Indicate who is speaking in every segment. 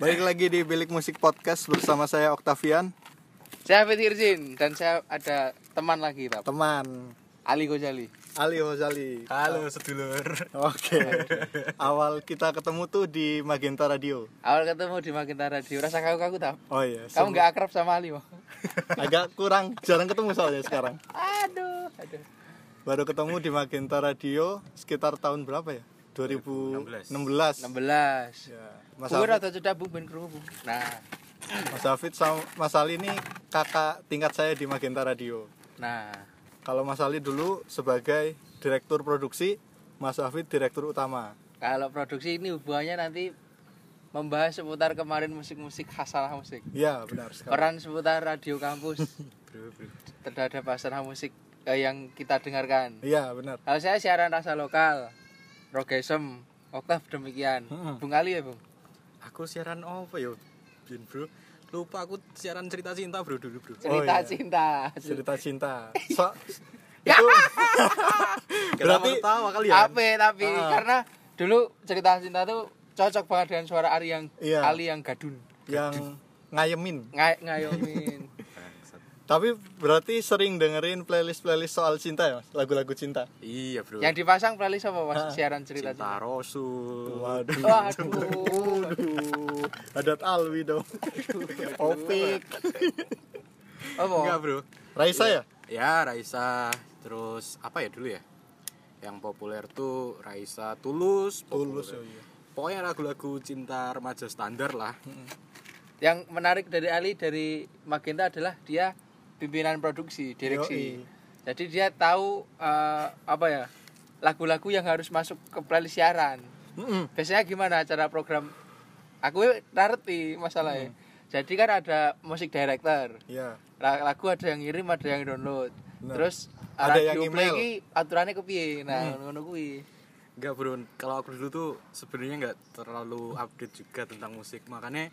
Speaker 1: Balik lagi di Bilik Musik Podcast bersama saya Octavian,
Speaker 2: Saya Fit Irjin dan saya ada teman lagi, Pak.
Speaker 1: teman
Speaker 2: Ali Gozali.
Speaker 1: Ali Hozali.
Speaker 3: Halo sedulur.
Speaker 1: Oke. Awal kita ketemu tuh di Magenta Radio.
Speaker 2: Awal ketemu di Magenta Radio, rasa kaku-kaku tak?
Speaker 1: Oh iya.
Speaker 2: Kamu nggak akrab sama Ali, Pak.
Speaker 1: Agak kurang jarang ketemu soalnya sekarang.
Speaker 2: Aduh, aduh.
Speaker 1: Baru ketemu di Magenta Radio sekitar tahun berapa ya? 2016.
Speaker 2: 16.
Speaker 1: Ya. Mas
Speaker 2: Gue
Speaker 1: Afid,
Speaker 2: rata sudah bu ben kru, Bu. Nah,
Speaker 1: Mas Afid sama Mas Ali ini kakak tingkat saya di Magenta Radio.
Speaker 2: nah.
Speaker 1: Kalau Mas Ali dulu sebagai direktur produksi, Mas Afid direktur utama.
Speaker 2: Kalau produksi ini hubungannya nanti membahas seputar kemarin musik-musik khas salah musik.
Speaker 1: Iya, benar sekali.
Speaker 2: Peran seputar radio kampus
Speaker 3: Bro, bro.
Speaker 2: terhadap pasaran musik eh, yang kita dengarkan.
Speaker 1: Iya, benar.
Speaker 2: Kalau saya siaran rasa lokal, rogesem, oktav demikian.
Speaker 1: Mm-mm.
Speaker 2: Bung Ali ya, Bung.
Speaker 3: Aku siaran apa yo? Bin bro. Lupa aku siaran cerita cinta bro dulu bro.
Speaker 2: cerita
Speaker 1: iya.
Speaker 2: cinta
Speaker 1: Cerita cinta. So, itu berarti
Speaker 3: tahu kali ya.
Speaker 2: apa tapi karena dulu cerita cinta tuh cocok banget dengan suara Ali yang
Speaker 1: Iya.
Speaker 2: Ali yang gadun
Speaker 1: yang ngayemin.
Speaker 2: Ngay ngayomin
Speaker 3: Bangsat.
Speaker 1: Tapi berarti sering dengerin playlist-playlist soal cinta ya, Mas? Lagu-lagu cinta.
Speaker 3: Iya bro.
Speaker 2: yang dipasang playlist apa pas siaran cerita
Speaker 3: cinta
Speaker 2: cinta
Speaker 3: Rosul.
Speaker 1: Waduh.
Speaker 2: waduh
Speaker 1: Waduh. Adat Alwi dong. Opik.
Speaker 3: Enggak
Speaker 2: apa
Speaker 3: bro.
Speaker 1: Raisa ya?
Speaker 3: Ya Raisa. Terus apa ya dulu ya? Yang populer tuh Raisa Tulus. populer.
Speaker 1: Tulus oh iya.
Speaker 3: Pokoknya lagu-lagu cinta remaja standar lah.
Speaker 2: yang menarik dari Ali dari Magenta adalah dia pimpinan produksi direksi
Speaker 1: Yoi.
Speaker 2: jadi dia tahu eh, apa ya lagu-lagu yang harus masuk ke playlist siaran
Speaker 1: Mm-mm.
Speaker 2: biasanya gimana cara program aku ngerti masalahnya jadi kan ada musik director
Speaker 1: Iya.
Speaker 2: La- lagu ada yang ngirim ada yang download
Speaker 1: Bener.
Speaker 2: terus
Speaker 1: Ada
Speaker 2: radio
Speaker 1: yang
Speaker 2: play
Speaker 1: email.
Speaker 2: iki aturannya kepiye nah ngono kuwi
Speaker 3: Enggak bro, kalau aku dulu tuh sebenarnya nggak terlalu update juga tentang musik makanya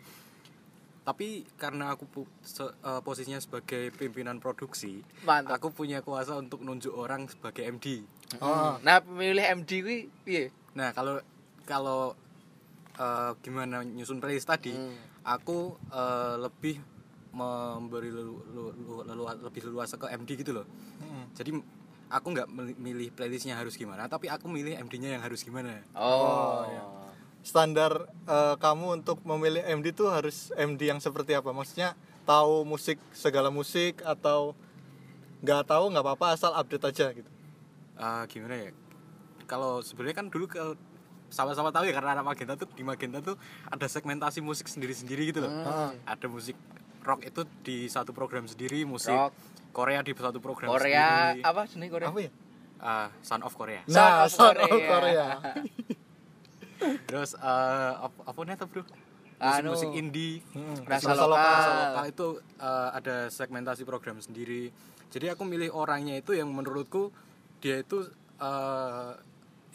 Speaker 3: tapi karena aku pu- se- eh, posisinya sebagai pimpinan produksi,
Speaker 2: Mantap.
Speaker 3: aku punya kuasa untuk nunjuk orang sebagai MD.
Speaker 1: Oh,
Speaker 2: Hmm. nah pemilih MD kuwi piye
Speaker 3: Nah kalau kalau eh, gimana nyusun playlist tadi, aku eh, lebih memberi lelu- lu- lu- lelu- lebih leluasa ke MD gitu loh. Jadi aku nggak meli- milih playlistnya harus gimana, tapi aku milih MD-nya yang harus gimana.
Speaker 2: oh,
Speaker 1: standar eh, kamu untuk memilih MD tuh harus MD yang seperti apa? Maksudnya tahu musik segala musik atau nggak tahu nggak apa-apa asal update aja gitu.
Speaker 3: Ah, gimana ya kalau sebenarnya kan dulu ke sama-sama tahu ya karena anak Magenta tuh di Magenta tuh ada segmentasi musik sendiri-sendiri gitu loh
Speaker 2: Hmm. Ah.
Speaker 3: ada musik rock itu di satu program sendiri musik
Speaker 2: Rock.
Speaker 3: Korea di satu program
Speaker 2: Korea
Speaker 3: sendiri
Speaker 2: apa jenis Korea
Speaker 1: Apa ya?
Speaker 3: Ah, Son of Korea
Speaker 2: Son
Speaker 1: Nah,
Speaker 2: of
Speaker 1: Son of
Speaker 2: Korea.
Speaker 1: Korea.
Speaker 3: terus eh, apa apa nih tuh, bro musik
Speaker 2: Anu. Ah.
Speaker 3: musik indie Nah,
Speaker 2: Rasa
Speaker 3: Rasa
Speaker 2: lokal.
Speaker 3: rasa lokal itu eh, ada segmentasi program sendiri jadi aku milih orangnya itu yang menurutku dia itu eh,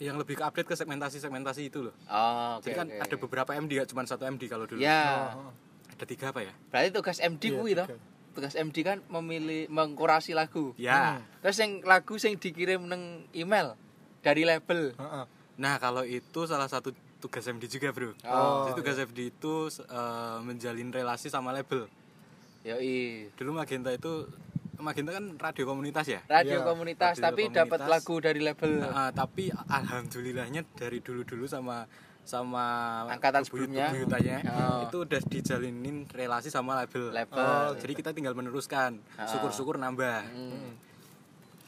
Speaker 3: yang lebih ke update ke segmentasi segmentasi itu loh
Speaker 2: oh oke
Speaker 3: Jadi kan
Speaker 2: oke.
Speaker 3: ada beberapa MD gak cuma satu MD kalau dulu.
Speaker 2: ya
Speaker 3: Ada tiga apa ya?
Speaker 2: berarti tugas MD
Speaker 1: Iya,
Speaker 2: kuwi toh
Speaker 1: tiga.
Speaker 2: tugas MD kan memilih mengkurasi lagu
Speaker 1: Hmm.
Speaker 3: Ya.
Speaker 2: terus yang lagu yang dikirim neng email dari label
Speaker 1: Heeh.
Speaker 3: Nah kalau itu salah satu tugas MD juga bro.
Speaker 2: Oh,
Speaker 3: Jadi tugas MD itu eh, menjalin relasi sama label.
Speaker 2: Yoi.
Speaker 3: Dulu Magenta itu Magenta kan radio komunitas ya.
Speaker 2: Radio
Speaker 1: Iya,
Speaker 2: komunitas,
Speaker 3: radio
Speaker 2: tapi
Speaker 3: komunitas.
Speaker 2: dapat lagu dari label.
Speaker 3: Nah, eh, tapi alhamdulillahnya dari dulu-dulu sama sama
Speaker 2: Angkatan
Speaker 3: bebuyut-
Speaker 2: sebelumnya.
Speaker 3: bebuyutannya,
Speaker 2: Oh.
Speaker 3: itu udah dijalinin relasi sama label.
Speaker 2: Label.
Speaker 3: Oh, jadi kita tinggal meneruskan. Syukur-syukur nambah.
Speaker 2: Hmm.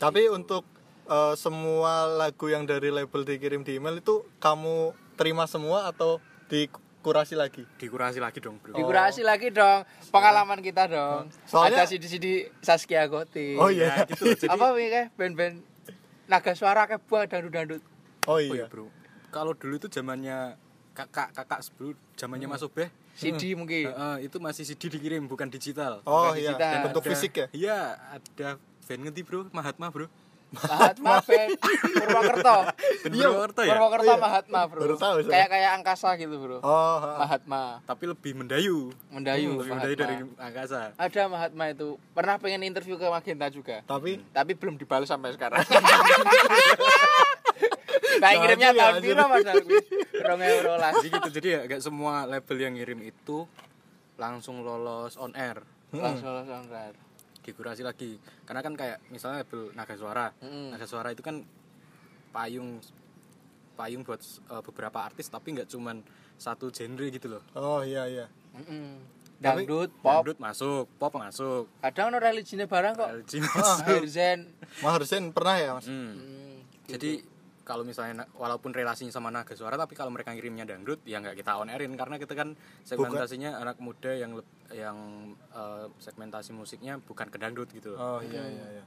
Speaker 1: Tapi untuk eh, semua lagu yang dari label dikirim di email itu kamu terima semua atau dikurasi lagi?
Speaker 3: Dikurasi lagi dong bro.
Speaker 2: Dikurasi lagi dong pengalaman kita
Speaker 1: Oh.
Speaker 2: dong.
Speaker 1: Nah. Soalnya-
Speaker 2: Ada CD-CD Saskia Gotik.
Speaker 1: Oh iya.
Speaker 3: Nah, gitu loh. Jadi-
Speaker 2: Apa ini kayak band-band naga suara kayak buah dandut-dandut.
Speaker 1: Oh
Speaker 3: Oh
Speaker 1: iya.
Speaker 3: iya bro. Kalau dulu itu zamannya kakak kakak sebelum zamannya Mas Obeh,
Speaker 2: CD
Speaker 3: eh,
Speaker 2: mungkin.
Speaker 3: eh, itu masih CD dikirim bukan digital.
Speaker 1: Oh
Speaker 2: Bukan
Speaker 1: iya,
Speaker 2: digital.
Speaker 1: Dan bentuk
Speaker 3: Ada-
Speaker 1: fisik ya?
Speaker 3: Iya, ada band ngerti bro, Mahatma bro.
Speaker 2: Mahatma band Purwokerto.
Speaker 3: Band Purwokerto ya.
Speaker 2: Purwokerto
Speaker 1: Iya.
Speaker 2: Mahatma, Bro.
Speaker 1: Baru tahu saya.
Speaker 2: Kayak kayak angkasa gitu, Bro.
Speaker 1: Oh, ha.
Speaker 2: Mahatma,
Speaker 3: Tapi lebih mendayu.
Speaker 2: Mendayu,
Speaker 3: lebih mendayu dari
Speaker 2: Mahatma.
Speaker 3: angkasa.
Speaker 2: Ada Mahatma itu. Pernah pengen interview ke Magenta juga.
Speaker 1: tapi
Speaker 2: tapi belum dibalas sampai sekarang. nah, yang kirimnya
Speaker 1: Jangan
Speaker 2: tahun
Speaker 1: sih,
Speaker 2: piro Mas Arwi? rong euro lah.
Speaker 3: jadi gitu jadi ya gak semua label yang ngirim itu langsung lolos on air
Speaker 2: Langsung langsung kelar.
Speaker 3: dikurasi lagi karena kan kayak misalnya label naga suara
Speaker 2: Mm-mm.
Speaker 3: naga suara itu kan payung payung buat eh, beberapa artis tapi nggak cuman satu genre gitu loh
Speaker 1: oh iya iya
Speaker 2: Mm-mm. Dangdut, pop,
Speaker 3: Dangdut masuk pop masuk
Speaker 2: kadang ono religinya barang kok.
Speaker 3: LG
Speaker 2: Akhir zen.
Speaker 1: Mas Harsen pernah ya mas
Speaker 3: Hmm.
Speaker 2: Mm.
Speaker 3: Jadi kalau misalnya na- walaupun relasinya sama naga suara tapi kalau mereka ngirimnya dangdut ya nggak kita on airin karena kita kan segmentasinya anak muda yang leb- yang eh, segmentasi musiknya bukan ke dangdut gitu loh.
Speaker 1: oh iya iya iya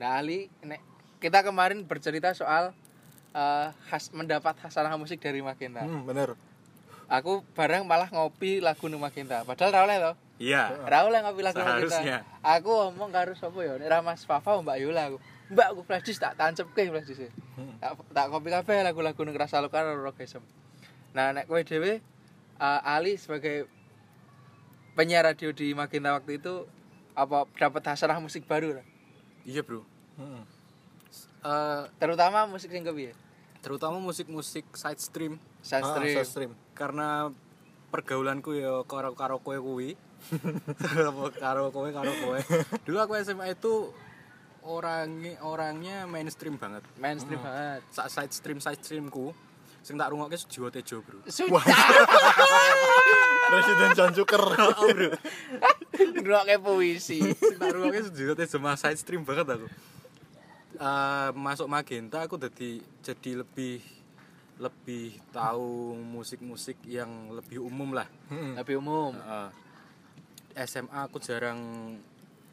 Speaker 2: Nah Ali, nek kita kemarin bercerita soal eh, khas mendapat hasanah musik dari Magenta.
Speaker 1: hmm, bener
Speaker 2: Aku bareng malah ngopi lagu nu Magenta. Padahal ra oleh loh.
Speaker 3: Iya.
Speaker 2: Ra oleh ngopi lagu nu
Speaker 3: Seharusnya.
Speaker 2: Magenta. Aku ngomong karo sapa ya? Nek ra Mas Fafa Mbak Yola aku. Mbak aku flash disk tak tancepke flash disk. e.
Speaker 1: Hmm.
Speaker 2: Tak tak kopi kabeh lagu-lagu nu kerasa luka karo rogesem. Nah nek kowe dhewe eh, Ali sebagai penyiar radio di Magenta waktu itu apa dapat hasanah musik baru? Ra?
Speaker 3: Iya, Bro.
Speaker 1: Hmm.
Speaker 3: Eh,
Speaker 2: Terutama musik sing kepiye?
Speaker 3: terutama musik-musik side stream
Speaker 1: Ah,
Speaker 2: Sastri.
Speaker 1: saya stream
Speaker 3: karena pergaulanku ya karo karo kowe kuwi. Apa karo kowe karo kowe. Dulu aku SMA itu orangnya orangnya mainstream banget.
Speaker 1: Hmm.
Speaker 2: mainstream banget.
Speaker 3: Sa- side stream side streamku sing tak rungokke Sujiwo Tejo, Bro.
Speaker 2: Sudah
Speaker 1: Presiden John Zucker
Speaker 2: ngeruake puisi.
Speaker 3: Tarungoknya sejujurnya teh cuma side stream banget aku. Eh, masuk Magenta aku jadi jadi lebih lebih tahu musik-musik yang lebih umum lah.
Speaker 1: Hmm.
Speaker 2: Tapi umum.
Speaker 3: Eh, SMA aku jarang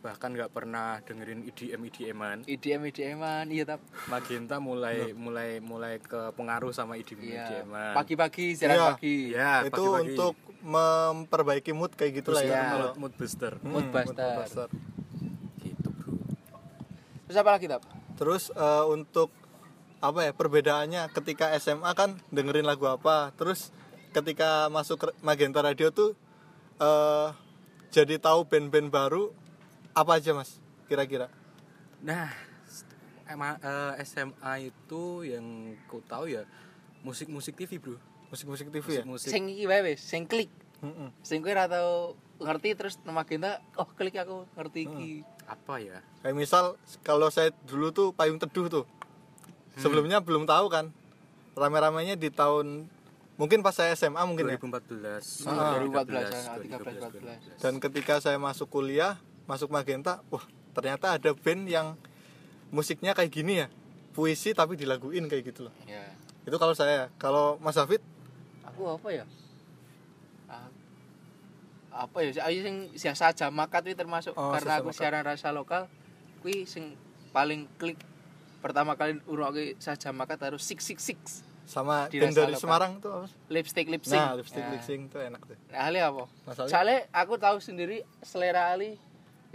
Speaker 3: bahkan nggak pernah dengerin E EDM EDM-an.
Speaker 2: IDM IDM-an, iya tap.
Speaker 3: Magenta mulai mulai mulai ke pengaruh sama E EDM
Speaker 2: Iya.
Speaker 3: EDM-an.
Speaker 2: Pagi-pagi, jalan
Speaker 1: Iya.
Speaker 2: pagi.
Speaker 3: Ya,
Speaker 1: itu
Speaker 3: pagi-pagi.
Speaker 1: untuk memperbaiki mood kayak gitulah
Speaker 3: booster,
Speaker 1: ya
Speaker 3: mood, mood booster.
Speaker 1: Hmm,
Speaker 2: Mood buster.
Speaker 1: Pasar.
Speaker 3: Gitu, Bro.
Speaker 2: Terus apa lagi tap?
Speaker 1: Terus eh, untuk apa ya perbedaannya ketika SMA kan dengerin lagu apa, terus ketika masuk ke Magenta Radio tuh eh jadi tahu band-band baru apa aja mas? Kira-kira?
Speaker 3: Nah, st- ema- eh, SMA itu yang ku tahu ya musik-musik TV, Bro.
Speaker 1: Musik-musik TV ya?
Speaker 3: Musik-musik.
Speaker 2: Sing iki wae wis, sing klik.
Speaker 1: Mm-mm.
Speaker 2: Sing kowe ora tau ngerti terus nama Magenta, oh klik aku ngerti iki.
Speaker 1: Hmm.
Speaker 3: apa ya?
Speaker 1: Kayak misal kalau saya dulu tuh payung teduh tuh, sebelumnya belum tahu kan, rame-ramenya di tahun mungkin pas saya SMA mungkin ya.
Speaker 3: 2014.
Speaker 2: Ah,
Speaker 3: 2014.
Speaker 2: 2014,
Speaker 3: 2013.
Speaker 1: Dan ketika saya masuk kuliah, masuk Magenta, wah ternyata ada band yang musiknya kayak gini ya. Puisi tapi dilaguin kayak gitu loh.
Speaker 2: Ya.
Speaker 1: Itu kalau saya. Kalau Mas Hafid,
Speaker 2: Aku apa ya? Ah, apa ya? Ayo sing siasa jamak kuwi termasuk
Speaker 1: Oh,
Speaker 2: karena
Speaker 1: Siasa
Speaker 2: aku
Speaker 1: Makat.
Speaker 2: siaran rasa lokal kuwi sing paling klik pertama kali urungoke saja makat harus six six six
Speaker 1: sama
Speaker 2: Dirasa
Speaker 1: band dari
Speaker 2: lokal.
Speaker 1: Semarang tuh apa?
Speaker 2: lipstick lipstick.
Speaker 1: Nah, lipstick lipstick tuh enak tuh.
Speaker 2: Nah, Ali apa?
Speaker 1: Mas Ali?
Speaker 2: Soalnya aku tahu sendiri selera Ali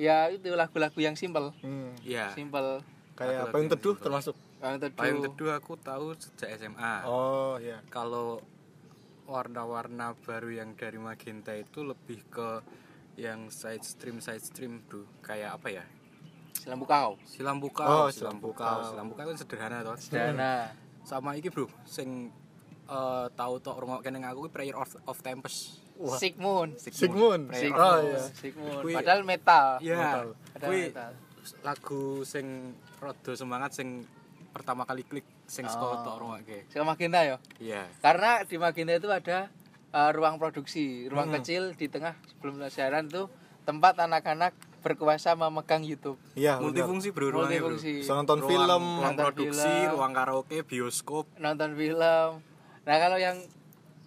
Speaker 2: ya itu lagu-lagu yang simple,
Speaker 1: Hmm,
Speaker 3: Iya.
Speaker 2: simple.
Speaker 1: kayak
Speaker 3: Lagu-lagu
Speaker 1: payung
Speaker 3: yang
Speaker 1: teduh
Speaker 3: simpel.
Speaker 1: termasuk.
Speaker 2: Yang teduh.
Speaker 3: Payung teduh aku tahu sejak SMA.
Speaker 1: Oh iya.
Speaker 3: Kalau warna-warna baru yang dari Magenta itu lebih ke yang side stream side stream, Bro. Kayak apa ya?
Speaker 2: Silambu kau.
Speaker 3: Silam
Speaker 1: Oh,
Speaker 3: bukau,
Speaker 1: silam
Speaker 3: silam
Speaker 1: bukau.
Speaker 3: bukau, silam bukau kan sederhana toh.
Speaker 2: Dana.
Speaker 3: sama iki bro sing eh, tahu tok rungokke ning aku ki Prayer of, of Tempest
Speaker 1: Wah.
Speaker 2: Sigmund.
Speaker 1: Sigmund.
Speaker 3: Prayer
Speaker 1: Oh
Speaker 3: of-
Speaker 1: iya.
Speaker 2: Sigmund.
Speaker 3: Kui-
Speaker 2: Padahal metal.
Speaker 3: iya
Speaker 1: Metal.
Speaker 2: Ada
Speaker 3: kuwi
Speaker 2: metal.
Speaker 3: lagu sing rada semangat sing pertama kali klik sing saka tok rungokke
Speaker 2: Sing Magenta ya.
Speaker 3: Oh. iya
Speaker 2: Karena di Magenta itu ada eh, ruang produksi, ruang
Speaker 1: Hmm.
Speaker 2: kecil di tengah sebelum siaran itu tempat anak-anak berkuasa memegang YouTube.
Speaker 1: Iya, benar.
Speaker 3: multifungsi bro ruangnya bro
Speaker 2: Multifungsi.
Speaker 1: Bisa nonton film.
Speaker 3: ruang
Speaker 2: Nonton
Speaker 3: produksi
Speaker 2: film.
Speaker 3: ruang karaoke bioskop
Speaker 2: nonton film. Nah kalau yang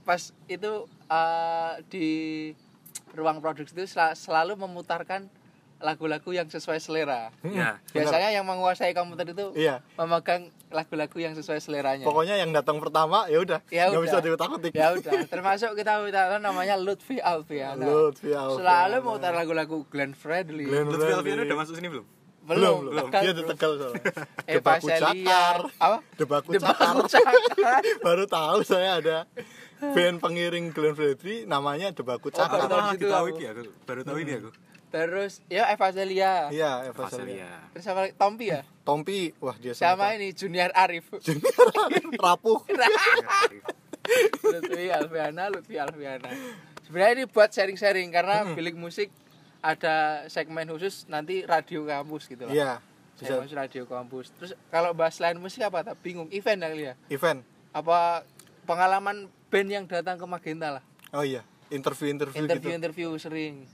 Speaker 2: pas itu eh, di ruang produksi itu sel- selalu memutarkan lagu-lagu yang sesuai selera.
Speaker 3: ya
Speaker 2: Biasanya yang menguasai komputer itu
Speaker 1: Hmm, Iya.
Speaker 2: memegang lagu-lagu yang sesuai seleranya.
Speaker 1: Pokoknya yang datang pertama ya udah.
Speaker 2: Ya
Speaker 1: Nggak
Speaker 2: udah.
Speaker 1: bisa diutak-atik.
Speaker 2: Ya udah, termasuk kita minta namanya Lutfi Alfiana.
Speaker 1: Lutfi Alfiana.
Speaker 2: Selalu mutar lagu-lagu Glenn Fredly.
Speaker 1: Glenn-
Speaker 3: Lutfi Alfian udah masuk sini belum
Speaker 1: belum,
Speaker 2: belum,
Speaker 1: belum.
Speaker 2: Tegal,
Speaker 1: Dia di
Speaker 2: bro.
Speaker 1: tegal soalnya.
Speaker 2: Eva
Speaker 1: Debaku
Speaker 2: Celia.
Speaker 1: cakar.
Speaker 2: Apa?
Speaker 1: Debaku
Speaker 2: Debaku
Speaker 1: cakar.
Speaker 2: Cakar.
Speaker 1: baru tahu saya ada band pengiring Glenn Fredly namanya Debaku
Speaker 2: baru
Speaker 1: Cakar.
Speaker 2: tahu
Speaker 3: Ah,
Speaker 2: situ
Speaker 3: tahu
Speaker 2: aku.
Speaker 3: iki aku Hmm. baru tahu ini aku
Speaker 2: Terus ya Eva Celia.
Speaker 1: Iya, Eva Celia.
Speaker 3: Faselia
Speaker 2: Terus apa lagi? Tompi ya?
Speaker 1: Tompi, wah dia
Speaker 2: Sama ini Junior Arif.
Speaker 1: rapuh.
Speaker 2: Lutfi Alfiana Lutfi Alfiana sebenarnya ini buat sharing-sharing karena bilik musik ada segmen khusus nanti radio kampus gitu lah
Speaker 1: Iya,
Speaker 2: Segmen
Speaker 1: bisa
Speaker 2: khusus radio kampus terus kalau bahas lain musik apa tak bingung event kali ya
Speaker 1: event.
Speaker 2: apa pengalaman band yang datang ke Magenta lah
Speaker 1: Oh iya, interview-interview gitu.
Speaker 2: interview-interview sering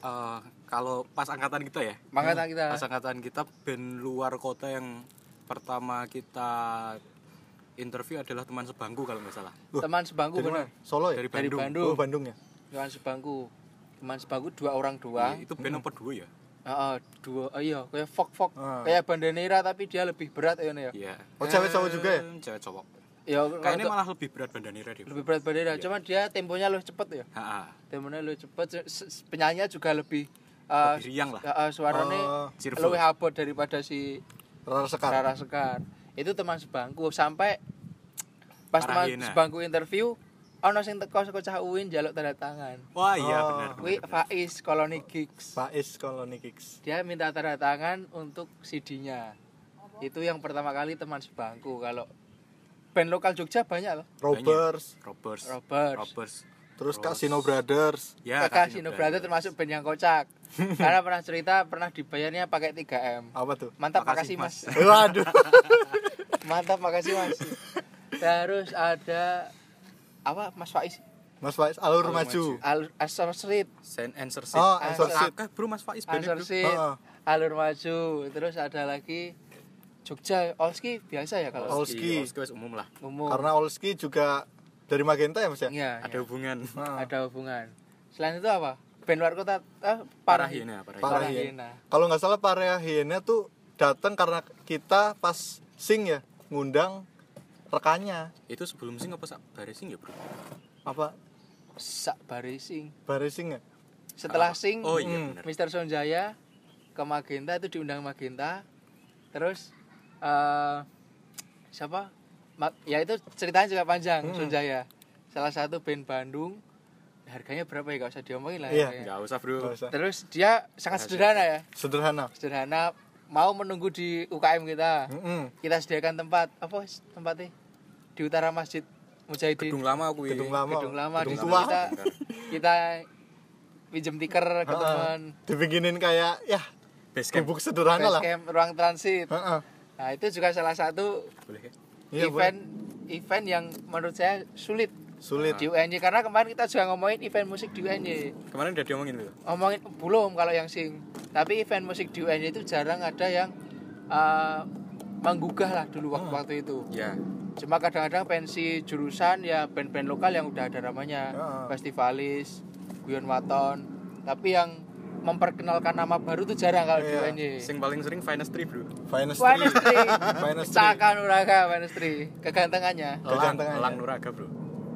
Speaker 3: Eh, kalau pas angkatan kita ya
Speaker 2: makanya kita
Speaker 3: pas angkatan kita band luar kota yang pertama kita interview adalah teman sebangku kalau nggak salah
Speaker 1: Wah,
Speaker 2: teman sebangku
Speaker 1: Dari
Speaker 2: bener
Speaker 1: mana? Solo ya?
Speaker 3: dari
Speaker 2: dari
Speaker 1: Oh,
Speaker 3: Bandung,
Speaker 2: Bandung
Speaker 1: Bandung ya.
Speaker 2: teman sebangku teman sebangku dua orang
Speaker 1: Ah?
Speaker 2: doang
Speaker 3: itu
Speaker 1: Hmm.
Speaker 3: band apa dua ya
Speaker 2: Heeh, dua oh iya kayak fok fok
Speaker 1: Ah.
Speaker 2: kayak bandanera tapi dia lebih berat ya ini ya
Speaker 3: iya Eh,
Speaker 1: Oh, cewek cowok juga ya?
Speaker 3: cewek cowok
Speaker 2: ya
Speaker 3: kayaknya
Speaker 2: untuk-
Speaker 3: malah lebih berat bandanira dia
Speaker 2: lebih berat bandanera cuman dia temponya lebih cepet ya
Speaker 3: Ha-ha.
Speaker 2: temponya lebih cepet se- se- penyanyinya juga lebih eh,
Speaker 3: Lebih riang lah.
Speaker 2: eh, eh, suaranya
Speaker 1: Oh,
Speaker 3: cheerful.
Speaker 2: lebih abot daripada si
Speaker 1: Rara Sekar.
Speaker 2: Rara Sekar itu teman sebangku sampai pas
Speaker 3: Parah
Speaker 2: teman
Speaker 3: hina.
Speaker 2: sebangku interview ono sing teko saka cah Uin jaluk tanda tangan
Speaker 3: wah iya
Speaker 1: Oh.
Speaker 3: benar benar,
Speaker 2: kuwi
Speaker 3: benar.
Speaker 2: Faiz Koloni Gigs
Speaker 1: Faiz Koloni Kicks.
Speaker 2: dia minta tanda tangan untuk CD-nya itu yang pertama kali teman sebangku kalau band lokal Jogja banyak loh
Speaker 1: Robbers,
Speaker 3: Robbers
Speaker 2: Robbers,
Speaker 3: Robbers
Speaker 1: terus Casino Brothers.
Speaker 3: ya
Speaker 2: Casino Brothers termasuk band yang kocak karena pernah cerita pernah dibayarnya pakai 3M
Speaker 1: Apa tuh?
Speaker 2: mantap
Speaker 3: Makasih,
Speaker 2: makasih, mas.
Speaker 1: Waduh.
Speaker 2: mantap makasih mas terus ada apa Mas Faiz
Speaker 1: Mas Faiz Alur Maju.
Speaker 2: Al Asor Street
Speaker 3: Send answer sheet
Speaker 1: Oh, answer sheet.
Speaker 3: Akeh, Eh, bro mas Faiz
Speaker 2: Answer
Speaker 3: bandnya, bro.
Speaker 2: Sheet,
Speaker 1: Heeh.
Speaker 2: Alur Maju, terus ada lagi Jogja, Olski biasa ya
Speaker 1: Ol-
Speaker 2: kalau
Speaker 1: Olski.
Speaker 3: Olski Olski wes umum lah
Speaker 2: umum.
Speaker 1: Karena Olski juga dari Magenta ya Mas ya? Nah,
Speaker 2: Iya,
Speaker 3: ada
Speaker 2: ada,
Speaker 3: hubungan
Speaker 1: Ah.
Speaker 2: ada hubungan. Selain itu apa? Band luar kota eh, Parahina.
Speaker 3: parahina parahina
Speaker 1: Parah
Speaker 2: Parah
Speaker 1: Hiena.
Speaker 2: Hiena.
Speaker 1: Kalau nggak salah Parah Hiena tuh datang karena kita pas sing ya ngundang rekannya
Speaker 3: itu sebelum sing apa sak bare sing ya bro
Speaker 1: apa
Speaker 2: Sak Barising.
Speaker 1: bare sing ya?
Speaker 2: Setelah Sing,
Speaker 3: oh iya
Speaker 1: Hmm.
Speaker 3: benar
Speaker 2: Mister Sonjaya ke Magenta itu diundang Magenta. Terus eh siapa? Ma- ya itu ceritanya juga panjang Sonjaya. Salah satu band Bandung. Harganya berapa ya? Gak usah diomongin lah.
Speaker 1: Iya.
Speaker 2: harganya.
Speaker 3: nggak usah bro
Speaker 1: Nggak usah.
Speaker 2: Terus dia sangat sederhana ya.
Speaker 1: Sederhana.
Speaker 2: Sederhana mau menunggu di UKM kita.
Speaker 1: Mm-mm.
Speaker 2: Kita sediakan tempat apa sih tempatnya? Di utara Masjid
Speaker 3: gedung
Speaker 2: Mujahidin.
Speaker 3: lama aku iya.
Speaker 1: Gedung lama.
Speaker 2: Gedung lama di
Speaker 1: Gedung
Speaker 2: situ
Speaker 1: tua.
Speaker 2: kita kita pinjem tiker ke teman.
Speaker 1: Dibikinin kayak ya
Speaker 3: base camp
Speaker 1: gebuk sederhana lah.
Speaker 2: Basecamp, ruang transit.
Speaker 1: Heeh.
Speaker 2: Nah, itu juga salah satu
Speaker 3: boleh ya?
Speaker 1: Iya,
Speaker 2: event event yang menurut saya sulit
Speaker 1: Sulit.
Speaker 2: di UNY karena kemarin kita juga ngomongin event musik di UNY.
Speaker 3: kemarin udah diomongin bro
Speaker 2: ngomongin belum kalau yang sing tapi event musik di UNY itu jarang ada yang eh, menggugah lah dulu waktu waktu itu
Speaker 3: ya
Speaker 2: cuma kadang-kadang pensi jurusan ya band-band lokal yang udah ada namanya
Speaker 1: Heeh.
Speaker 2: festivalis Guyon Waton tapi yang memperkenalkan nama baru tuh jarang kalau di
Speaker 1: Iya.
Speaker 2: UNY
Speaker 3: sing paling sering finance tree bro
Speaker 1: Finest
Speaker 2: Wah,
Speaker 1: Tree.
Speaker 2: Nestri.
Speaker 1: Finest Tree.
Speaker 2: Caka Nuraga, Wah, Nestri. Kegantengannya.
Speaker 1: Gagang
Speaker 3: elang
Speaker 1: tengahnya.
Speaker 3: elang nuraga bro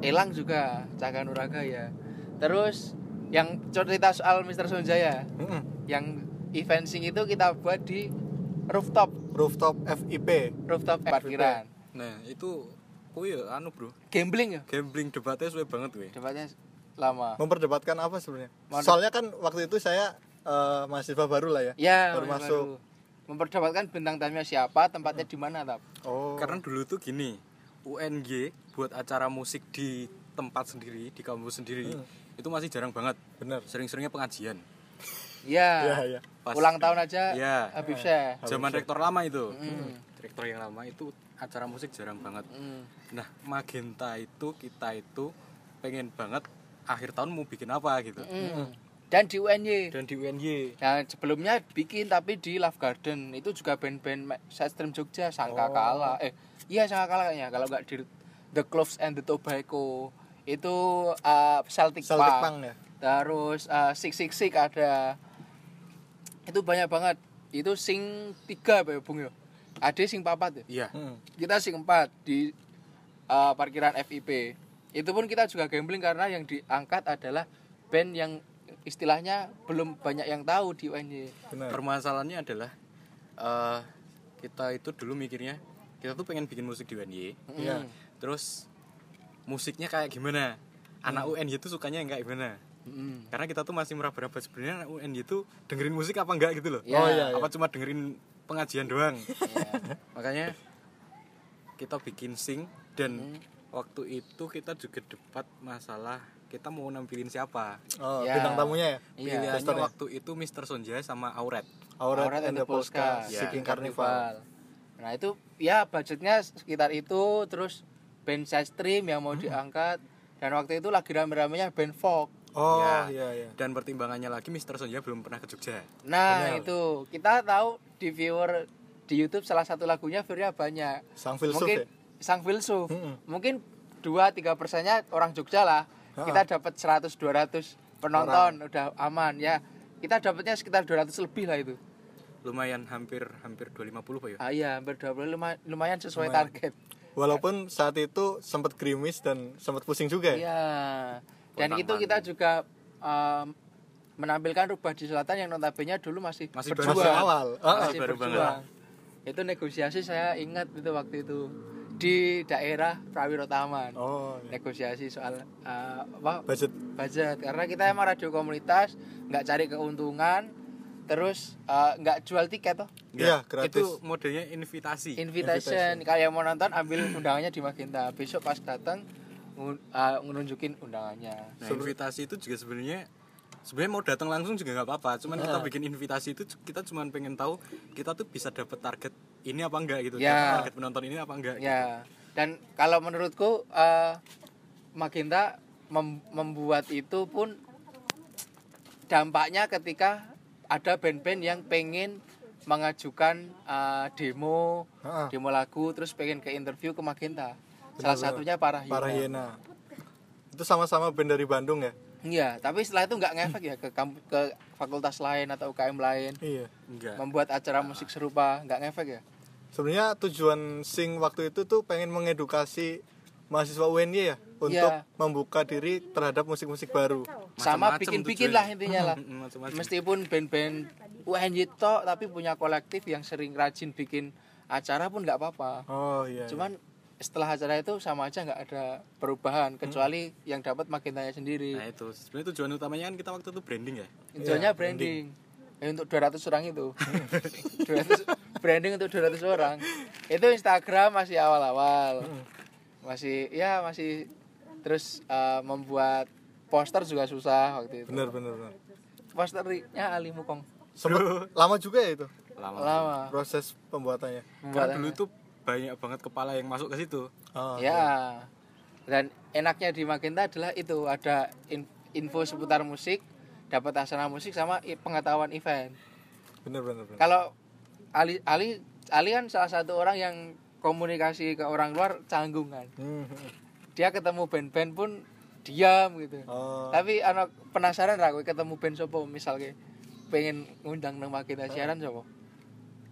Speaker 2: Elang juga, Caka Nuraga ya. Terus yang cerita soal Mr. Sunjaya,
Speaker 1: Mm-mm.
Speaker 2: yang event sing itu kita buat di rooftop
Speaker 1: Rooftop FIP.
Speaker 2: rooftop parkiran
Speaker 3: nah itu kuwi ya anu bro
Speaker 2: gambling ya
Speaker 3: gambling debatnya suwe banget kuwi
Speaker 2: debatnya lama
Speaker 1: Memperdebatkan apa sebenarnya?
Speaker 2: Mau-
Speaker 1: Soalnya kan waktu itu saya eh, mahasiswa baru lah ya.
Speaker 2: ya
Speaker 1: Baru
Speaker 2: baru
Speaker 1: masuk.
Speaker 2: memperdebatkan bintang tamunya siapa tempatnya di mana tap
Speaker 1: Oh.
Speaker 3: karena dulu tuh gini UNG buat acara musik di tempat sendiri di kampus sendiri itu masih jarang banget
Speaker 1: Hmm. bener.
Speaker 3: sering-seringnya pengajian
Speaker 1: Iya,
Speaker 2: ya
Speaker 1: iya.
Speaker 3: Pas-
Speaker 2: ulang tahun aja ya.
Speaker 3: Iya.
Speaker 2: Habib Syekh
Speaker 3: zaman rektor lama itu
Speaker 1: Hmm.
Speaker 3: Hmm. rektor yang lama itu acara musik jarang banget
Speaker 2: Mm.
Speaker 3: nah magenta itu kita itu pengen banget akhir tahun mau bikin apa gitu
Speaker 1: Hmm.
Speaker 2: Mm. dan di UNY
Speaker 3: dan di UNY
Speaker 2: Nah, sebelumnya bikin tapi di Love Garden itu juga band-band ma- Setstream Jogja
Speaker 1: Oh.
Speaker 2: sangka kalah eh iya sangka kalah kayaknya kalau nggak di The Cloves and the Tobacco itu uh, Celtic,
Speaker 1: Celtic
Speaker 2: Punk.
Speaker 1: Punk ya?
Speaker 2: terus uh, Six Six Six ada itu banyak banget itu sing tiga apa ya bung ya ada sing papat ya
Speaker 3: iya
Speaker 1: Mm.
Speaker 2: kita sing empat di uh, parkiran FIP itu pun kita juga gambling karena yang diangkat adalah band yang istilahnya belum banyak yang tahu di UNY
Speaker 1: Bener.
Speaker 3: permasalahannya adalah eh kita itu dulu mikirnya kita tuh pengen bikin musik di UNY
Speaker 1: Iya.
Speaker 3: Nah, terus musiknya kayak gimana
Speaker 1: Mm.
Speaker 3: anak UNY itu sukanya yang kayak gimana
Speaker 2: Mm.
Speaker 3: karena kita tuh masih meraba-raba sebenarnya anak UNY itu dengerin musik apa enggak gitu loh
Speaker 2: Ya.
Speaker 1: Oh iya.
Speaker 3: apa cuma dengerin pengajian doang
Speaker 2: Ya.
Speaker 1: Mm.
Speaker 3: makanya kita bikin sing dan waktu itu kita juga debat masalah kita mau nampilin siapa
Speaker 1: Oh,
Speaker 2: Ya.
Speaker 1: bintang tamunya ya?
Speaker 2: Iya.
Speaker 3: pilihannya
Speaker 1: Posternya.
Speaker 3: waktu itu Mr. Sonja sama Auret
Speaker 1: Aurat, and the Polska,
Speaker 2: Ya.
Speaker 1: Seeking Carnival.
Speaker 2: Nah itu ya budgetnya sekitar itu terus band side stream yang mau diangkat dan waktu itu lagi rame-ramenya band folk.
Speaker 1: Oh,
Speaker 3: Ya.
Speaker 1: iya iya.
Speaker 3: dan pertimbangannya lagi Mr. Sonja belum pernah ke Jogja
Speaker 2: Nah
Speaker 1: Benar.
Speaker 2: itu kita tahu di viewer di YouTube salah satu lagunya viewernya banyak.
Speaker 1: Sang filsuf
Speaker 2: Mungkin
Speaker 1: ya?
Speaker 2: sang filsuf.
Speaker 1: Mm-mm.
Speaker 2: Mungkin 2 3 persennya orang Jogja lah.
Speaker 1: Ha-ha.
Speaker 2: Kita dapat 100 200 penonton udah aman ya. Kita dapatnya sekitar 200 lebih lah itu.
Speaker 3: lumayan hampir hampir 250 pak ya
Speaker 2: Ah iya hampir 20 lumayan, lumayan sesuai target.
Speaker 1: Walaupun saat itu sempat gerimis dan sempat pusing juga ya.
Speaker 2: Iya. Dan itu kita juga um, menampilkan rubah di selatan yang notabene dulu masih
Speaker 3: Masih
Speaker 2: berjuang.
Speaker 1: Masih awal. Ah,
Speaker 2: Masih
Speaker 3: baru banget.
Speaker 2: berjuang. Itu negosiasi saya ingat itu waktu itu di daerah Prawiro Taman.
Speaker 1: Oh, iya.
Speaker 2: Negosiasi soal uh, apa?
Speaker 1: budget
Speaker 2: budget karena kita emang radio komunitas, nggak cari keuntungan, terus uh, nggak jual tiket toh.
Speaker 1: Iya,
Speaker 3: Ya,
Speaker 1: gratis.
Speaker 3: itu modelnya invitasi
Speaker 2: Invitation. Kalau yang mau nonton ambil undangannya di Magenta. Besok pas datang ngun- uh, nunjukin undangannya.
Speaker 3: Nah, invitasi itu juga sebenarnya sebenarnya mau datang langsung juga nggak apa-apa. Cuman kita bikin invitasi itu kita cuman pengen tahu kita tuh bisa dapet target ini apa enggak gitu.
Speaker 2: Ya.
Speaker 3: Dapet Target penonton ini apa enggak.
Speaker 1: gitu.
Speaker 2: Ya, dan kalau menurutku eh, Magenta mem- membuat itu pun dampaknya ketika ada band-band yang pengen mengajukan eh, demo,
Speaker 1: Ha-ha.
Speaker 2: demo lagu, terus pengen ke interview ke Magenta. Salah satunya Parah
Speaker 1: para hiena.
Speaker 2: Hyena.
Speaker 1: Itu sama-sama band dari Bandung ya?
Speaker 2: Iya, tapi setelah itu nggak ngefek ya ke kamp- ke fakultas lain atau UKM lain,
Speaker 1: Iya.
Speaker 3: Enggak.
Speaker 2: membuat acara musik serupa nggak ngefek ya.
Speaker 1: Sebenarnya tujuan Sing waktu itu tuh pengen mengedukasi mahasiswa UNY ya untuk
Speaker 2: Iya.
Speaker 1: membuka diri terhadap musik-musik baru.
Speaker 2: Sama
Speaker 3: Macam-macam
Speaker 2: bikin-bikin
Speaker 3: tujuannya.
Speaker 2: lah intinya lah.
Speaker 3: Mm, macam-macam.
Speaker 2: meskipun band-band UNY tok tapi punya kolektif yang sering rajin bikin acara pun nggak apa-apa
Speaker 1: Oh iya. iya.
Speaker 2: cuman setelah acara itu sama aja nggak ada perubahan kecuali yang dapat makin tanya sendiri
Speaker 3: Nah itu sebenarnya tujuan utamanya kan kita waktu itu branding ya.
Speaker 2: tujuannya branding, Eh, untuk 200 orang itu 200 branding untuk 200 orang itu Instagram masih awal-awal masih ya masih terus eh, membuat poster juga susah waktu itu
Speaker 1: Bener bener bener.
Speaker 2: posternya Ali Mukong
Speaker 1: Sempet lama juga ya itu
Speaker 3: Lama.
Speaker 2: lama
Speaker 1: proses pembuatannya.
Speaker 2: membuat
Speaker 3: Karena dulu tuh banyak banget kepala yang masuk ke situ.
Speaker 1: Oh,
Speaker 2: Ya. Dan enaknya di Magenta adalah itu ada in- info seputar musik, dapat asana musik sama i- pengetahuan event.
Speaker 1: Bener bener bener.
Speaker 2: Kalau Ali Ali Ali kan salah satu orang yang komunikasi ke orang luar canggung kan.
Speaker 1: Hmm.
Speaker 2: Dia ketemu band-band pun diam gitu.
Speaker 1: Oh.
Speaker 2: Tapi anak penasaran ra kowe ketemu band sopo misalnya pengen ngundang nang Magenta siaran sopo?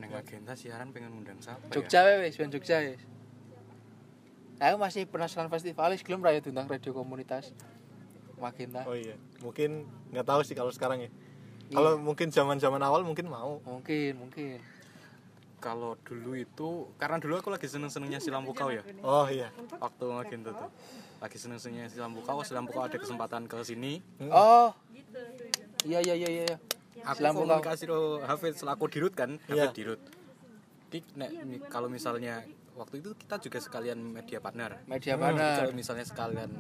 Speaker 3: Neng Magenta siaran pengen ngundang siapa ya?
Speaker 2: Jogja wes, band Jogja wes. Aku masih penasaran festivalis belum raya tentang radio komunitas Magenta.
Speaker 1: Oh iya, mungkin nggak tahu sih kalau sekarang ya.
Speaker 2: Iya.
Speaker 1: Kalau mungkin zaman-zaman awal mungkin mau.
Speaker 2: Mungkin, mungkin.
Speaker 3: Kalau dulu itu karena dulu aku lagi seneng-senengnya si lampu kau ya.
Speaker 1: Oh iya.
Speaker 3: Waktu Magenta tuh. Lagi seneng-senengnya si lampu kau, si lampu kau ada kesempatan ke sini.
Speaker 1: Hmm.
Speaker 2: Oh. Iya, iya, iya, iya.
Speaker 3: aku
Speaker 2: Lampu kau.
Speaker 3: komunikasi karo Hafid selaku dirut kan
Speaker 1: Iya.
Speaker 3: Hafid dirut Ki- nek mi- kalau misalnya waktu itu kita juga sekalian media partner
Speaker 2: Media
Speaker 1: Hmm,
Speaker 3: Jadi
Speaker 2: mana?
Speaker 3: kalau misalnya sekalian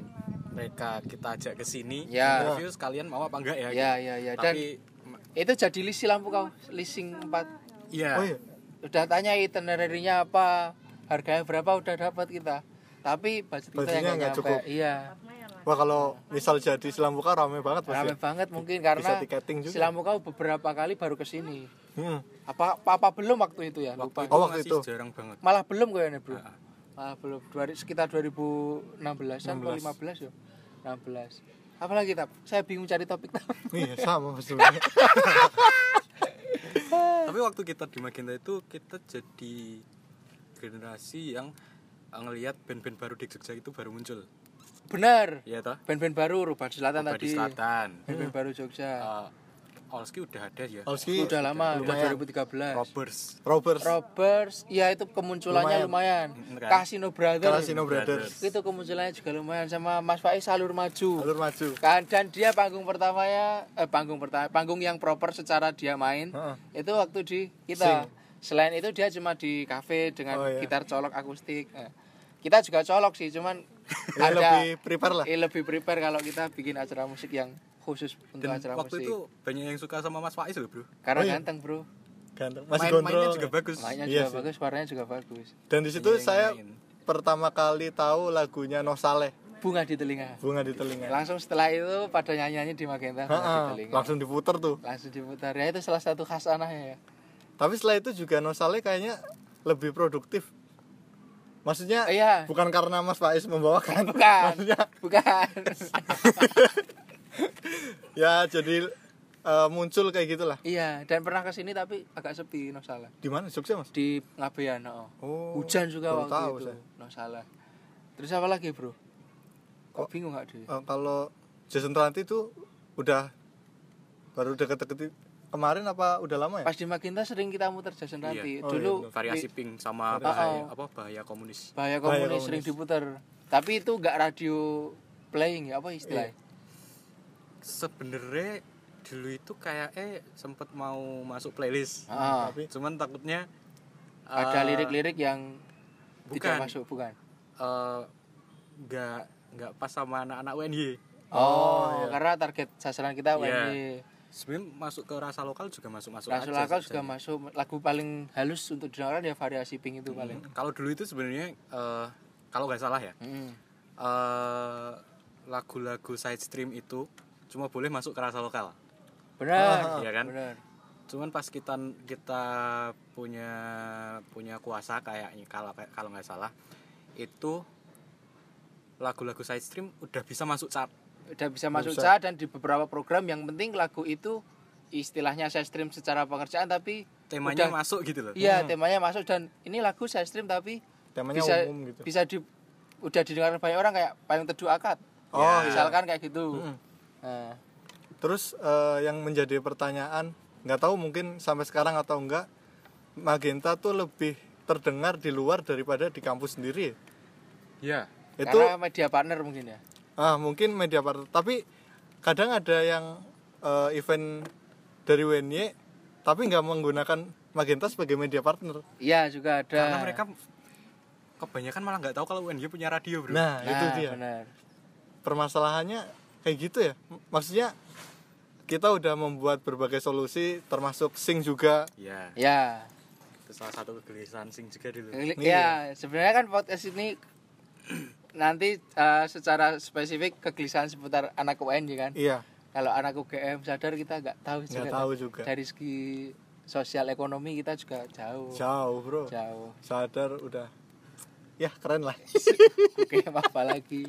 Speaker 3: mereka kita ajak ke sini
Speaker 2: Ya.
Speaker 1: Iya.
Speaker 3: interview sekalian mau apa enggak ya
Speaker 2: Ya, ya, ya. Dan
Speaker 3: tapi ma-
Speaker 2: itu jadi lisi lampu kau, leasing 4.
Speaker 3: iya
Speaker 1: Oh iya.
Speaker 2: Udah tanya itinerary-nya apa, harganya berapa udah dapat kita. Tapi budget kita
Speaker 1: Budgetnya
Speaker 2: yang
Speaker 1: nggak
Speaker 2: nggak
Speaker 1: cukup.
Speaker 2: nyampe. Iya.
Speaker 1: Wah kalau misal jadi selambuka rame banget ya. pasti.
Speaker 2: Rame banget mungkin karena
Speaker 1: tiketing juga.
Speaker 2: silambu kau beberapa kali baru ke sini.
Speaker 1: Hmm.
Speaker 2: Apa, apa apa belum waktu itu ya? Lupa.
Speaker 1: Oh, waktu
Speaker 3: masih
Speaker 1: itu.
Speaker 3: jarang banget
Speaker 2: Malah belum kayaknya, Bro. Malah belum. Dua, sekitar 2016 an atau 15 ya. 16. Apalagi kita? Saya bingung cari topik. Tap.
Speaker 1: Iya sama sebenarnya.
Speaker 3: tapi waktu kita di Magenta itu kita jadi generasi yang eh, ngelihat band-band baru di Jogja itu baru muncul
Speaker 2: Benar.
Speaker 3: ya toh
Speaker 2: Band-band baru Rubah di Selatan
Speaker 3: Badi
Speaker 2: tadi.
Speaker 3: Selatan
Speaker 2: Band-band baru Jogja.
Speaker 3: Eh, Olski udah ada ya
Speaker 1: Olski,
Speaker 2: udah lama,
Speaker 1: lumayan.
Speaker 2: udah 2013.
Speaker 3: Robbers
Speaker 1: Robbers,
Speaker 2: Robbers, ya itu kemunculannya lumayan.
Speaker 3: Mm, kan?
Speaker 2: Casino Brothers.
Speaker 1: Casino Brothers,
Speaker 2: Itu kemunculannya juga lumayan sama Mas Faiz Salur Maju.
Speaker 1: Alur Maju.
Speaker 2: Kan dan dia panggung pertamanya eh panggung pertama panggung yang proper secara dia main.
Speaker 1: Heeh.
Speaker 2: Itu waktu di kita. Selain itu dia cuma di kafe dengan
Speaker 1: Oh, iya.
Speaker 2: gitar colok akustik. Eh, Kita juga colok sih, cuman
Speaker 1: Ya,
Speaker 2: Ada-
Speaker 1: lebih prepare lah
Speaker 2: Eh, lebih prepare kalau kita bikin acara musik yang khusus untuk
Speaker 3: Dan
Speaker 2: acara
Speaker 3: waktu
Speaker 2: musik.
Speaker 3: itu banyak yang suka sama Mas Faiz loh bro
Speaker 1: Oh,
Speaker 2: Karena
Speaker 1: iya.
Speaker 2: ganteng, Bro.
Speaker 1: ganteng masih
Speaker 3: Main-
Speaker 1: gondrong
Speaker 3: mainnya juga bagus
Speaker 2: Mainnya
Speaker 1: Iya
Speaker 2: juga
Speaker 1: sih.
Speaker 2: bagus, warnanya juga bagus.
Speaker 1: dan di situ
Speaker 3: Banyak yang
Speaker 1: saya
Speaker 3: main.
Speaker 1: pertama kali tahu lagunya Nosaleh
Speaker 2: Bunga di telinga.
Speaker 1: bunga di telinga
Speaker 2: Langsung setelah itu pada nyanyi-nyanyi di Magenta bunga di
Speaker 1: Ha-ha,
Speaker 2: telinga.
Speaker 1: Iya. langsung diputer tuh
Speaker 2: Langsung diputar. Ya itu salah satu khas anaknya ya.
Speaker 1: tapi setelah itu juga Nosaleh kayaknya lebih produktif maksudnya
Speaker 2: Iya.
Speaker 1: bukan karena Mas Faiz membawakan
Speaker 2: Bukan.
Speaker 1: maksudnya
Speaker 2: Bukan.
Speaker 1: ya jadi eh, muncul kayak gitulah
Speaker 2: iya, dan pernah ke sini tapi agak sepi, no salah.
Speaker 1: di mana Jogja mas
Speaker 2: Di Ngabean, no.
Speaker 1: Oh,
Speaker 2: Hujan juga
Speaker 1: baru
Speaker 2: waktu
Speaker 1: tahu
Speaker 2: itu.
Speaker 1: saya.
Speaker 2: No salah. Terus apa lagi, Bro? Kok bingung gak, Dwi?
Speaker 1: Eh, kalau Jason Ranti itu udah baru deket-deket i- kemarin apa udah lama ya
Speaker 2: Pas di Magenta sering kita muter Jason
Speaker 3: Iya.
Speaker 2: Ranti.
Speaker 1: Oh, iya,
Speaker 2: Dulu
Speaker 1: benar.
Speaker 3: variasi pink
Speaker 2: Oh,
Speaker 3: sama
Speaker 1: Variasi.
Speaker 3: bahaya apa bahaya komunis
Speaker 1: Bahaya
Speaker 2: bahaya komunis,
Speaker 1: komunis.
Speaker 2: sering diputar. Tapi itu gak radio playing ya apa istilahnya?
Speaker 1: Iya.
Speaker 3: sebenarnya dulu itu kayak eh sempet mau masuk playlist
Speaker 2: Ah,
Speaker 1: tapi
Speaker 3: cuman takutnya eh,
Speaker 2: ada lirik-lirik yang
Speaker 3: bukan.
Speaker 2: tidak masuk bukan?
Speaker 3: eh, nggak nggak pas sama anak-anak UNY
Speaker 1: iya.
Speaker 2: Oh, karena target sasaran kita
Speaker 3: Iya.
Speaker 2: yeah.
Speaker 3: sebenarnya masuk ke rasa lokal juga masuk masuk
Speaker 2: Rasul Akal juga masuk lagu paling halus untuk didengarkan ya variasi pink itu paling.
Speaker 3: kalau dulu itu sebenarnya eh, kalau nggak salah
Speaker 1: Hmm.
Speaker 3: ya
Speaker 2: Mm.
Speaker 3: eh, lagu-lagu side stream itu cuma boleh masuk ke rasa lokal
Speaker 1: Ah,
Speaker 2: Benar,
Speaker 3: Iya kan?
Speaker 2: Benar.
Speaker 3: cuman pas kita kita punya punya kuasa kayaknya kalau kalau nggak salah itu lagu-lagu side stream udah bisa masuk chart
Speaker 2: Udah bisa masuk
Speaker 1: bisa.
Speaker 2: chart dan di beberapa program yang penting lagu itu istilahnya saya stream secara pengerjaan tapi
Speaker 3: temanya
Speaker 2: udah-
Speaker 3: masuk gitu loh
Speaker 2: Iya, temanya masuk dan ini lagu saya stream tapi
Speaker 1: Hmm. temanya
Speaker 2: bisa
Speaker 1: umum gitu
Speaker 2: bisa di udah didengar banyak orang kayak paling teduh akad. Ya,
Speaker 1: Oh, iya.
Speaker 2: misalkan kayak gitu. Nah,
Speaker 1: terus eh, yang menjadi pertanyaan nggak tahu mungkin sampai sekarang atau enggak Magenta tuh lebih terdengar di luar daripada di kampus sendiri ya?
Speaker 3: Iya.
Speaker 1: itu
Speaker 2: karena media partner mungkin ya.
Speaker 1: ah mungkin media partner tapi kadang ada yang eh, event dari WNY tapi nggak menggunakan Magenta sebagai media partner
Speaker 2: Iya, juga ada.
Speaker 3: karena mereka kebanyakan malah nggak tahu kalau UNY punya radio bro
Speaker 1: nah, itu dia
Speaker 2: Benar.
Speaker 1: permasalahannya kayak gitu ya M- maksudnya kita udah membuat berbagai solusi termasuk sing juga
Speaker 3: Iya,
Speaker 2: Ya.
Speaker 3: itu salah satu kegelisahan sing juga dulu
Speaker 2: Ya, sebenarnya kan podcast ini nanti eh, secara spesifik kegelisahan seputar anak UNJ kan.
Speaker 1: iya
Speaker 2: Kalau anak UGM sadar kita nggak tahu
Speaker 1: nggak
Speaker 2: juga.
Speaker 1: tahu juga
Speaker 2: Dari segi sosial ekonomi kita juga jauh.
Speaker 1: jauh bro
Speaker 2: Oh, Jauh.
Speaker 1: sadar udah ya keren lah
Speaker 2: Oke, apa lagi?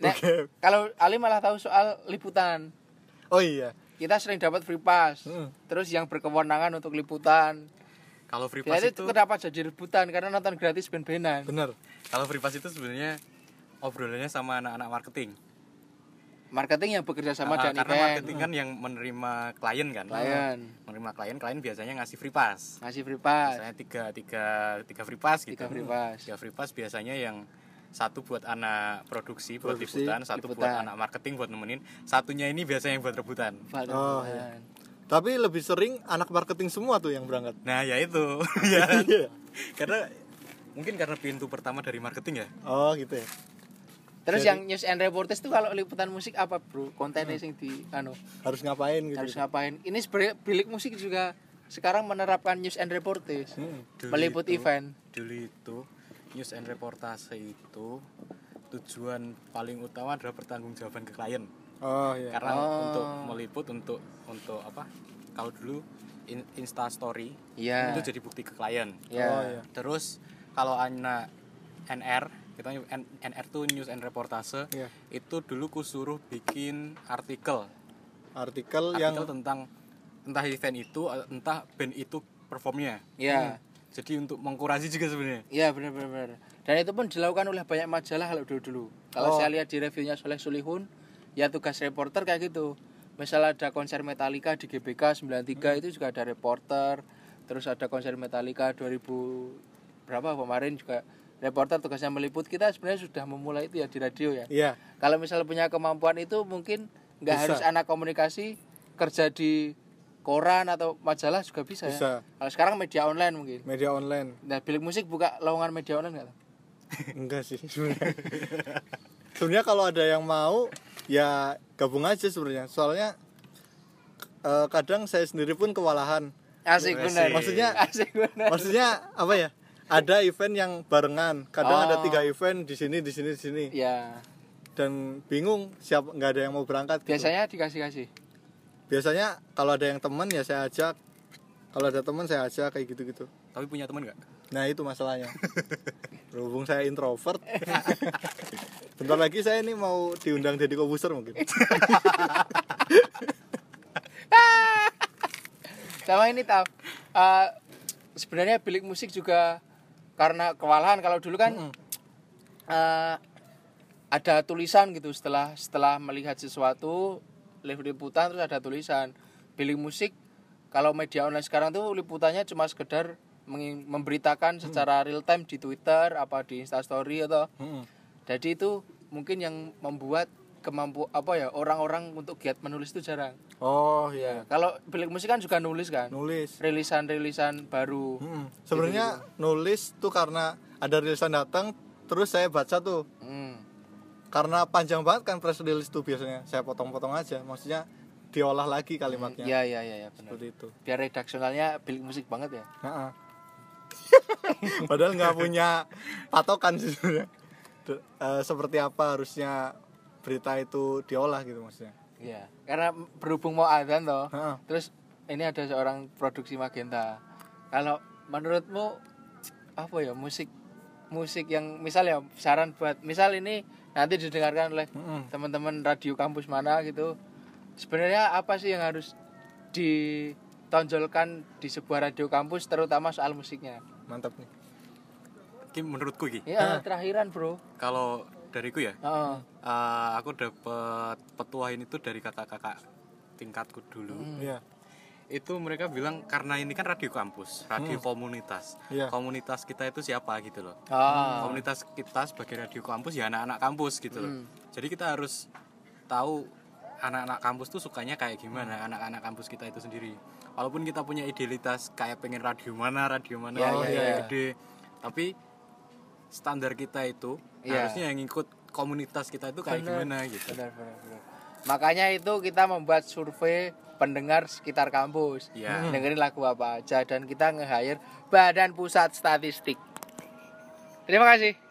Speaker 2: Nek, kalau Ali malah tahu soal liputan.
Speaker 1: oh iya
Speaker 2: Kita sering dapat free pass.
Speaker 1: Hmm.
Speaker 2: Terus yang berkewenangan untuk liputan.
Speaker 3: kalau free
Speaker 2: Kita
Speaker 3: pass
Speaker 2: itu
Speaker 3: itu
Speaker 2: kenapa jadi rebutan karena nonton gratis ben-benan.
Speaker 1: bener
Speaker 3: kalau free pass itu sebenarnya obrolannya sama anak-anak marketing
Speaker 2: Marketing yang bekerja sama
Speaker 3: Ah,
Speaker 2: dan
Speaker 3: karena
Speaker 2: event.
Speaker 3: marketing kan yang menerima klien kan
Speaker 2: Klien
Speaker 3: menerima klien klien biasanya ngasih free pass
Speaker 2: ngasih free pass.
Speaker 3: misalnya tiga tiga tiga free pass gitu
Speaker 2: Tiga free pass.
Speaker 3: tiga free pass biasanya yang satu buat anak produksi buat
Speaker 1: Produksi,
Speaker 3: liputan satu buat
Speaker 2: liputan.
Speaker 3: anak marketing buat nemenin satunya ini biasanya yang buat rebutan
Speaker 2: Waduh,
Speaker 1: Oh,
Speaker 2: Tuhan.
Speaker 1: tapi lebih sering anak marketing semua tuh yang berangkat
Speaker 3: nah ya itu ya kan?
Speaker 1: Iya.
Speaker 3: karena mungkin karena pintu pertama dari marketing ya
Speaker 1: oh gitu ya
Speaker 2: Terus yang news and reporters tuh kalau liputan musik apa, Bro? Kontennya sing di anu
Speaker 1: harus ngapain gitu
Speaker 2: harus ngapain? Ini sebenarnya bilik musik juga sekarang menerapkan news and reporters.
Speaker 3: Hmm, Dulu
Speaker 2: Meliput
Speaker 3: itu-
Speaker 2: event.
Speaker 3: dulu itu news and reportase itu tujuan paling utama adalah pertanggungjawaban ke klien
Speaker 1: oh iya
Speaker 3: karena
Speaker 2: Oh.
Speaker 3: untuk meliput untuk untuk apa kalau dulu in, insta story
Speaker 2: Iya.
Speaker 3: itu jadi bukti ke klien
Speaker 2: Iya.
Speaker 1: Oh, iya.
Speaker 3: terus kalau anak NR kita nyebut N- NR tuh news and reportase
Speaker 1: Iya.
Speaker 3: itu dulu kusuruh bikin artikel
Speaker 1: artikel
Speaker 3: artikel
Speaker 1: yang
Speaker 3: tentang entah event itu entah band itu performnya
Speaker 2: Iya.
Speaker 3: Hmm. jadi untuk mengkurasi juga sebenarnya
Speaker 2: Iya, benar benar benar. Dan itu pun dilakukan oleh banyak majalah kalau dulu-dulu. Kalau saya lihat di reviewnya Soleh Sulihun, ya tugas reporter kayak gitu. Misal ada konser Metallica di GBK 93 itu juga ada reporter. Terus ada konser Metallica 2000 berapa kemarin juga reporter tugasnya meliput. Kita sebenarnya sudah memulai itu ya di radio ya.
Speaker 1: iya
Speaker 2: Kalau misal punya kemampuan itu mungkin nggak harus anak komunikasi kerja di koran atau majalah juga bisa,
Speaker 1: Bisa.
Speaker 2: ya. Kalau sekarang media online mungkin.
Speaker 1: media online
Speaker 2: Nah, bilik musik buka lowongan media online nggak? Tam?
Speaker 1: enggak sih sebenarnya sebenarnya kalau ada yang mau ya gabung aja sebenarnya soalnya eh, kadang saya sendiri pun kewalahan
Speaker 2: Asik bener.
Speaker 1: Maksudnya-
Speaker 2: asik bener.
Speaker 1: maksudnya apa ya ada event yang barengan kadang ada
Speaker 2: Oh.
Speaker 1: tiga event di sini di sini di sini
Speaker 2: Ya,
Speaker 1: dan bingung siapa nggak ada yang mau berangkat gitu.
Speaker 2: biasanya dikasih-kasih.
Speaker 1: biasanya kalau ada yang teman ya saya ajak kalau ada teman saya ajak kayak gitu gitu
Speaker 3: Tapi punya teman nggak?
Speaker 1: nah itu masalahnya berhubung saya introvert bentar lagi saya ini mau diundang jadi kobuser mungkin
Speaker 2: Sama ini tau. eh, sebenarnya bilik musik juga karena kewalahan kalau dulu kan eh, ada tulisan gitu setelah setelah melihat sesuatu live liputan terus ada tulisan bilik musik kalau media online sekarang tuh liputannya cuma sekedar mengi- memberitakan secara real time di Twitter apa di Instastory atau
Speaker 1: Mm-mm.
Speaker 2: jadi itu mungkin yang membuat kemampu apa ya orang-orang untuk giat menulis itu jarang
Speaker 1: oh ya
Speaker 2: kalau bilik musik kan juga nulis kan
Speaker 1: nulis
Speaker 2: rilisan-rilisan baru
Speaker 1: Mm-mm. sebenarnya nulis tuh karena ada rilisan datang terus saya baca tuh
Speaker 2: Hmm.
Speaker 1: karena panjang banget kan press release tuh biasanya saya potong-potong aja maksudnya diolah lagi kalimatnya
Speaker 2: ya ya ya ya benar
Speaker 1: seperti itu
Speaker 2: biar redaksionalnya bilik musik banget ya
Speaker 1: Ha-ha. padahal nggak punya patokan sih sebenarnya D- eh, seperti apa harusnya berita itu diolah gitu maksudnya
Speaker 2: Iya, karena berhubung mau adzan toh.
Speaker 1: Ha-ha.
Speaker 2: Terus ini ada seorang produksi Magenta. Kalau menurutmu apa ya musik musik yang misal ya saran buat misal ini nanti didengarkan oleh
Speaker 1: Mm-mm.
Speaker 2: teman-teman radio kampus mana gitu. Sebenarnya apa sih yang harus ditonjolkan di sebuah radio kampus terutama soal musiknya?
Speaker 1: mantap nih
Speaker 3: Ini menurutku Ki.
Speaker 2: Ya, terakhiran, Bro.
Speaker 3: Kalau dariku ya,
Speaker 2: Heeh.
Speaker 3: eh, aku dapet petuain itu dari kakak-kakak tingkatku dulu.
Speaker 1: iya
Speaker 3: Itu mereka bilang karena ini kan radio kampus, radio komunitas.
Speaker 1: Hmm. Iya.
Speaker 3: Komunitas kita itu siapa gitu loh.
Speaker 2: Ah.
Speaker 3: Komunitas kita sebagai radio kampus ya anak-anak kampus gitu loh. Jadi kita harus tahu anak-anak kampus tuh sukanya kayak gimana anak-anak kampus kita itu sendiri. Walaupun kita punya idealitas kayak pengen radio mana, radio mana,
Speaker 2: Iya,
Speaker 3: radio
Speaker 2: iya, iya.
Speaker 3: gede, tapi standar kita itu
Speaker 2: Iya.
Speaker 3: harusnya yang ngikut komunitas kita itu kayak gimana gitu.
Speaker 2: Benar, benar, benar. Makanya itu kita membuat survei pendengar sekitar kampus.
Speaker 3: Iya. Hmm.
Speaker 2: Dengerin lagu apa aja dan kita nge-hire Badan Pusat Statistik. Terima kasih.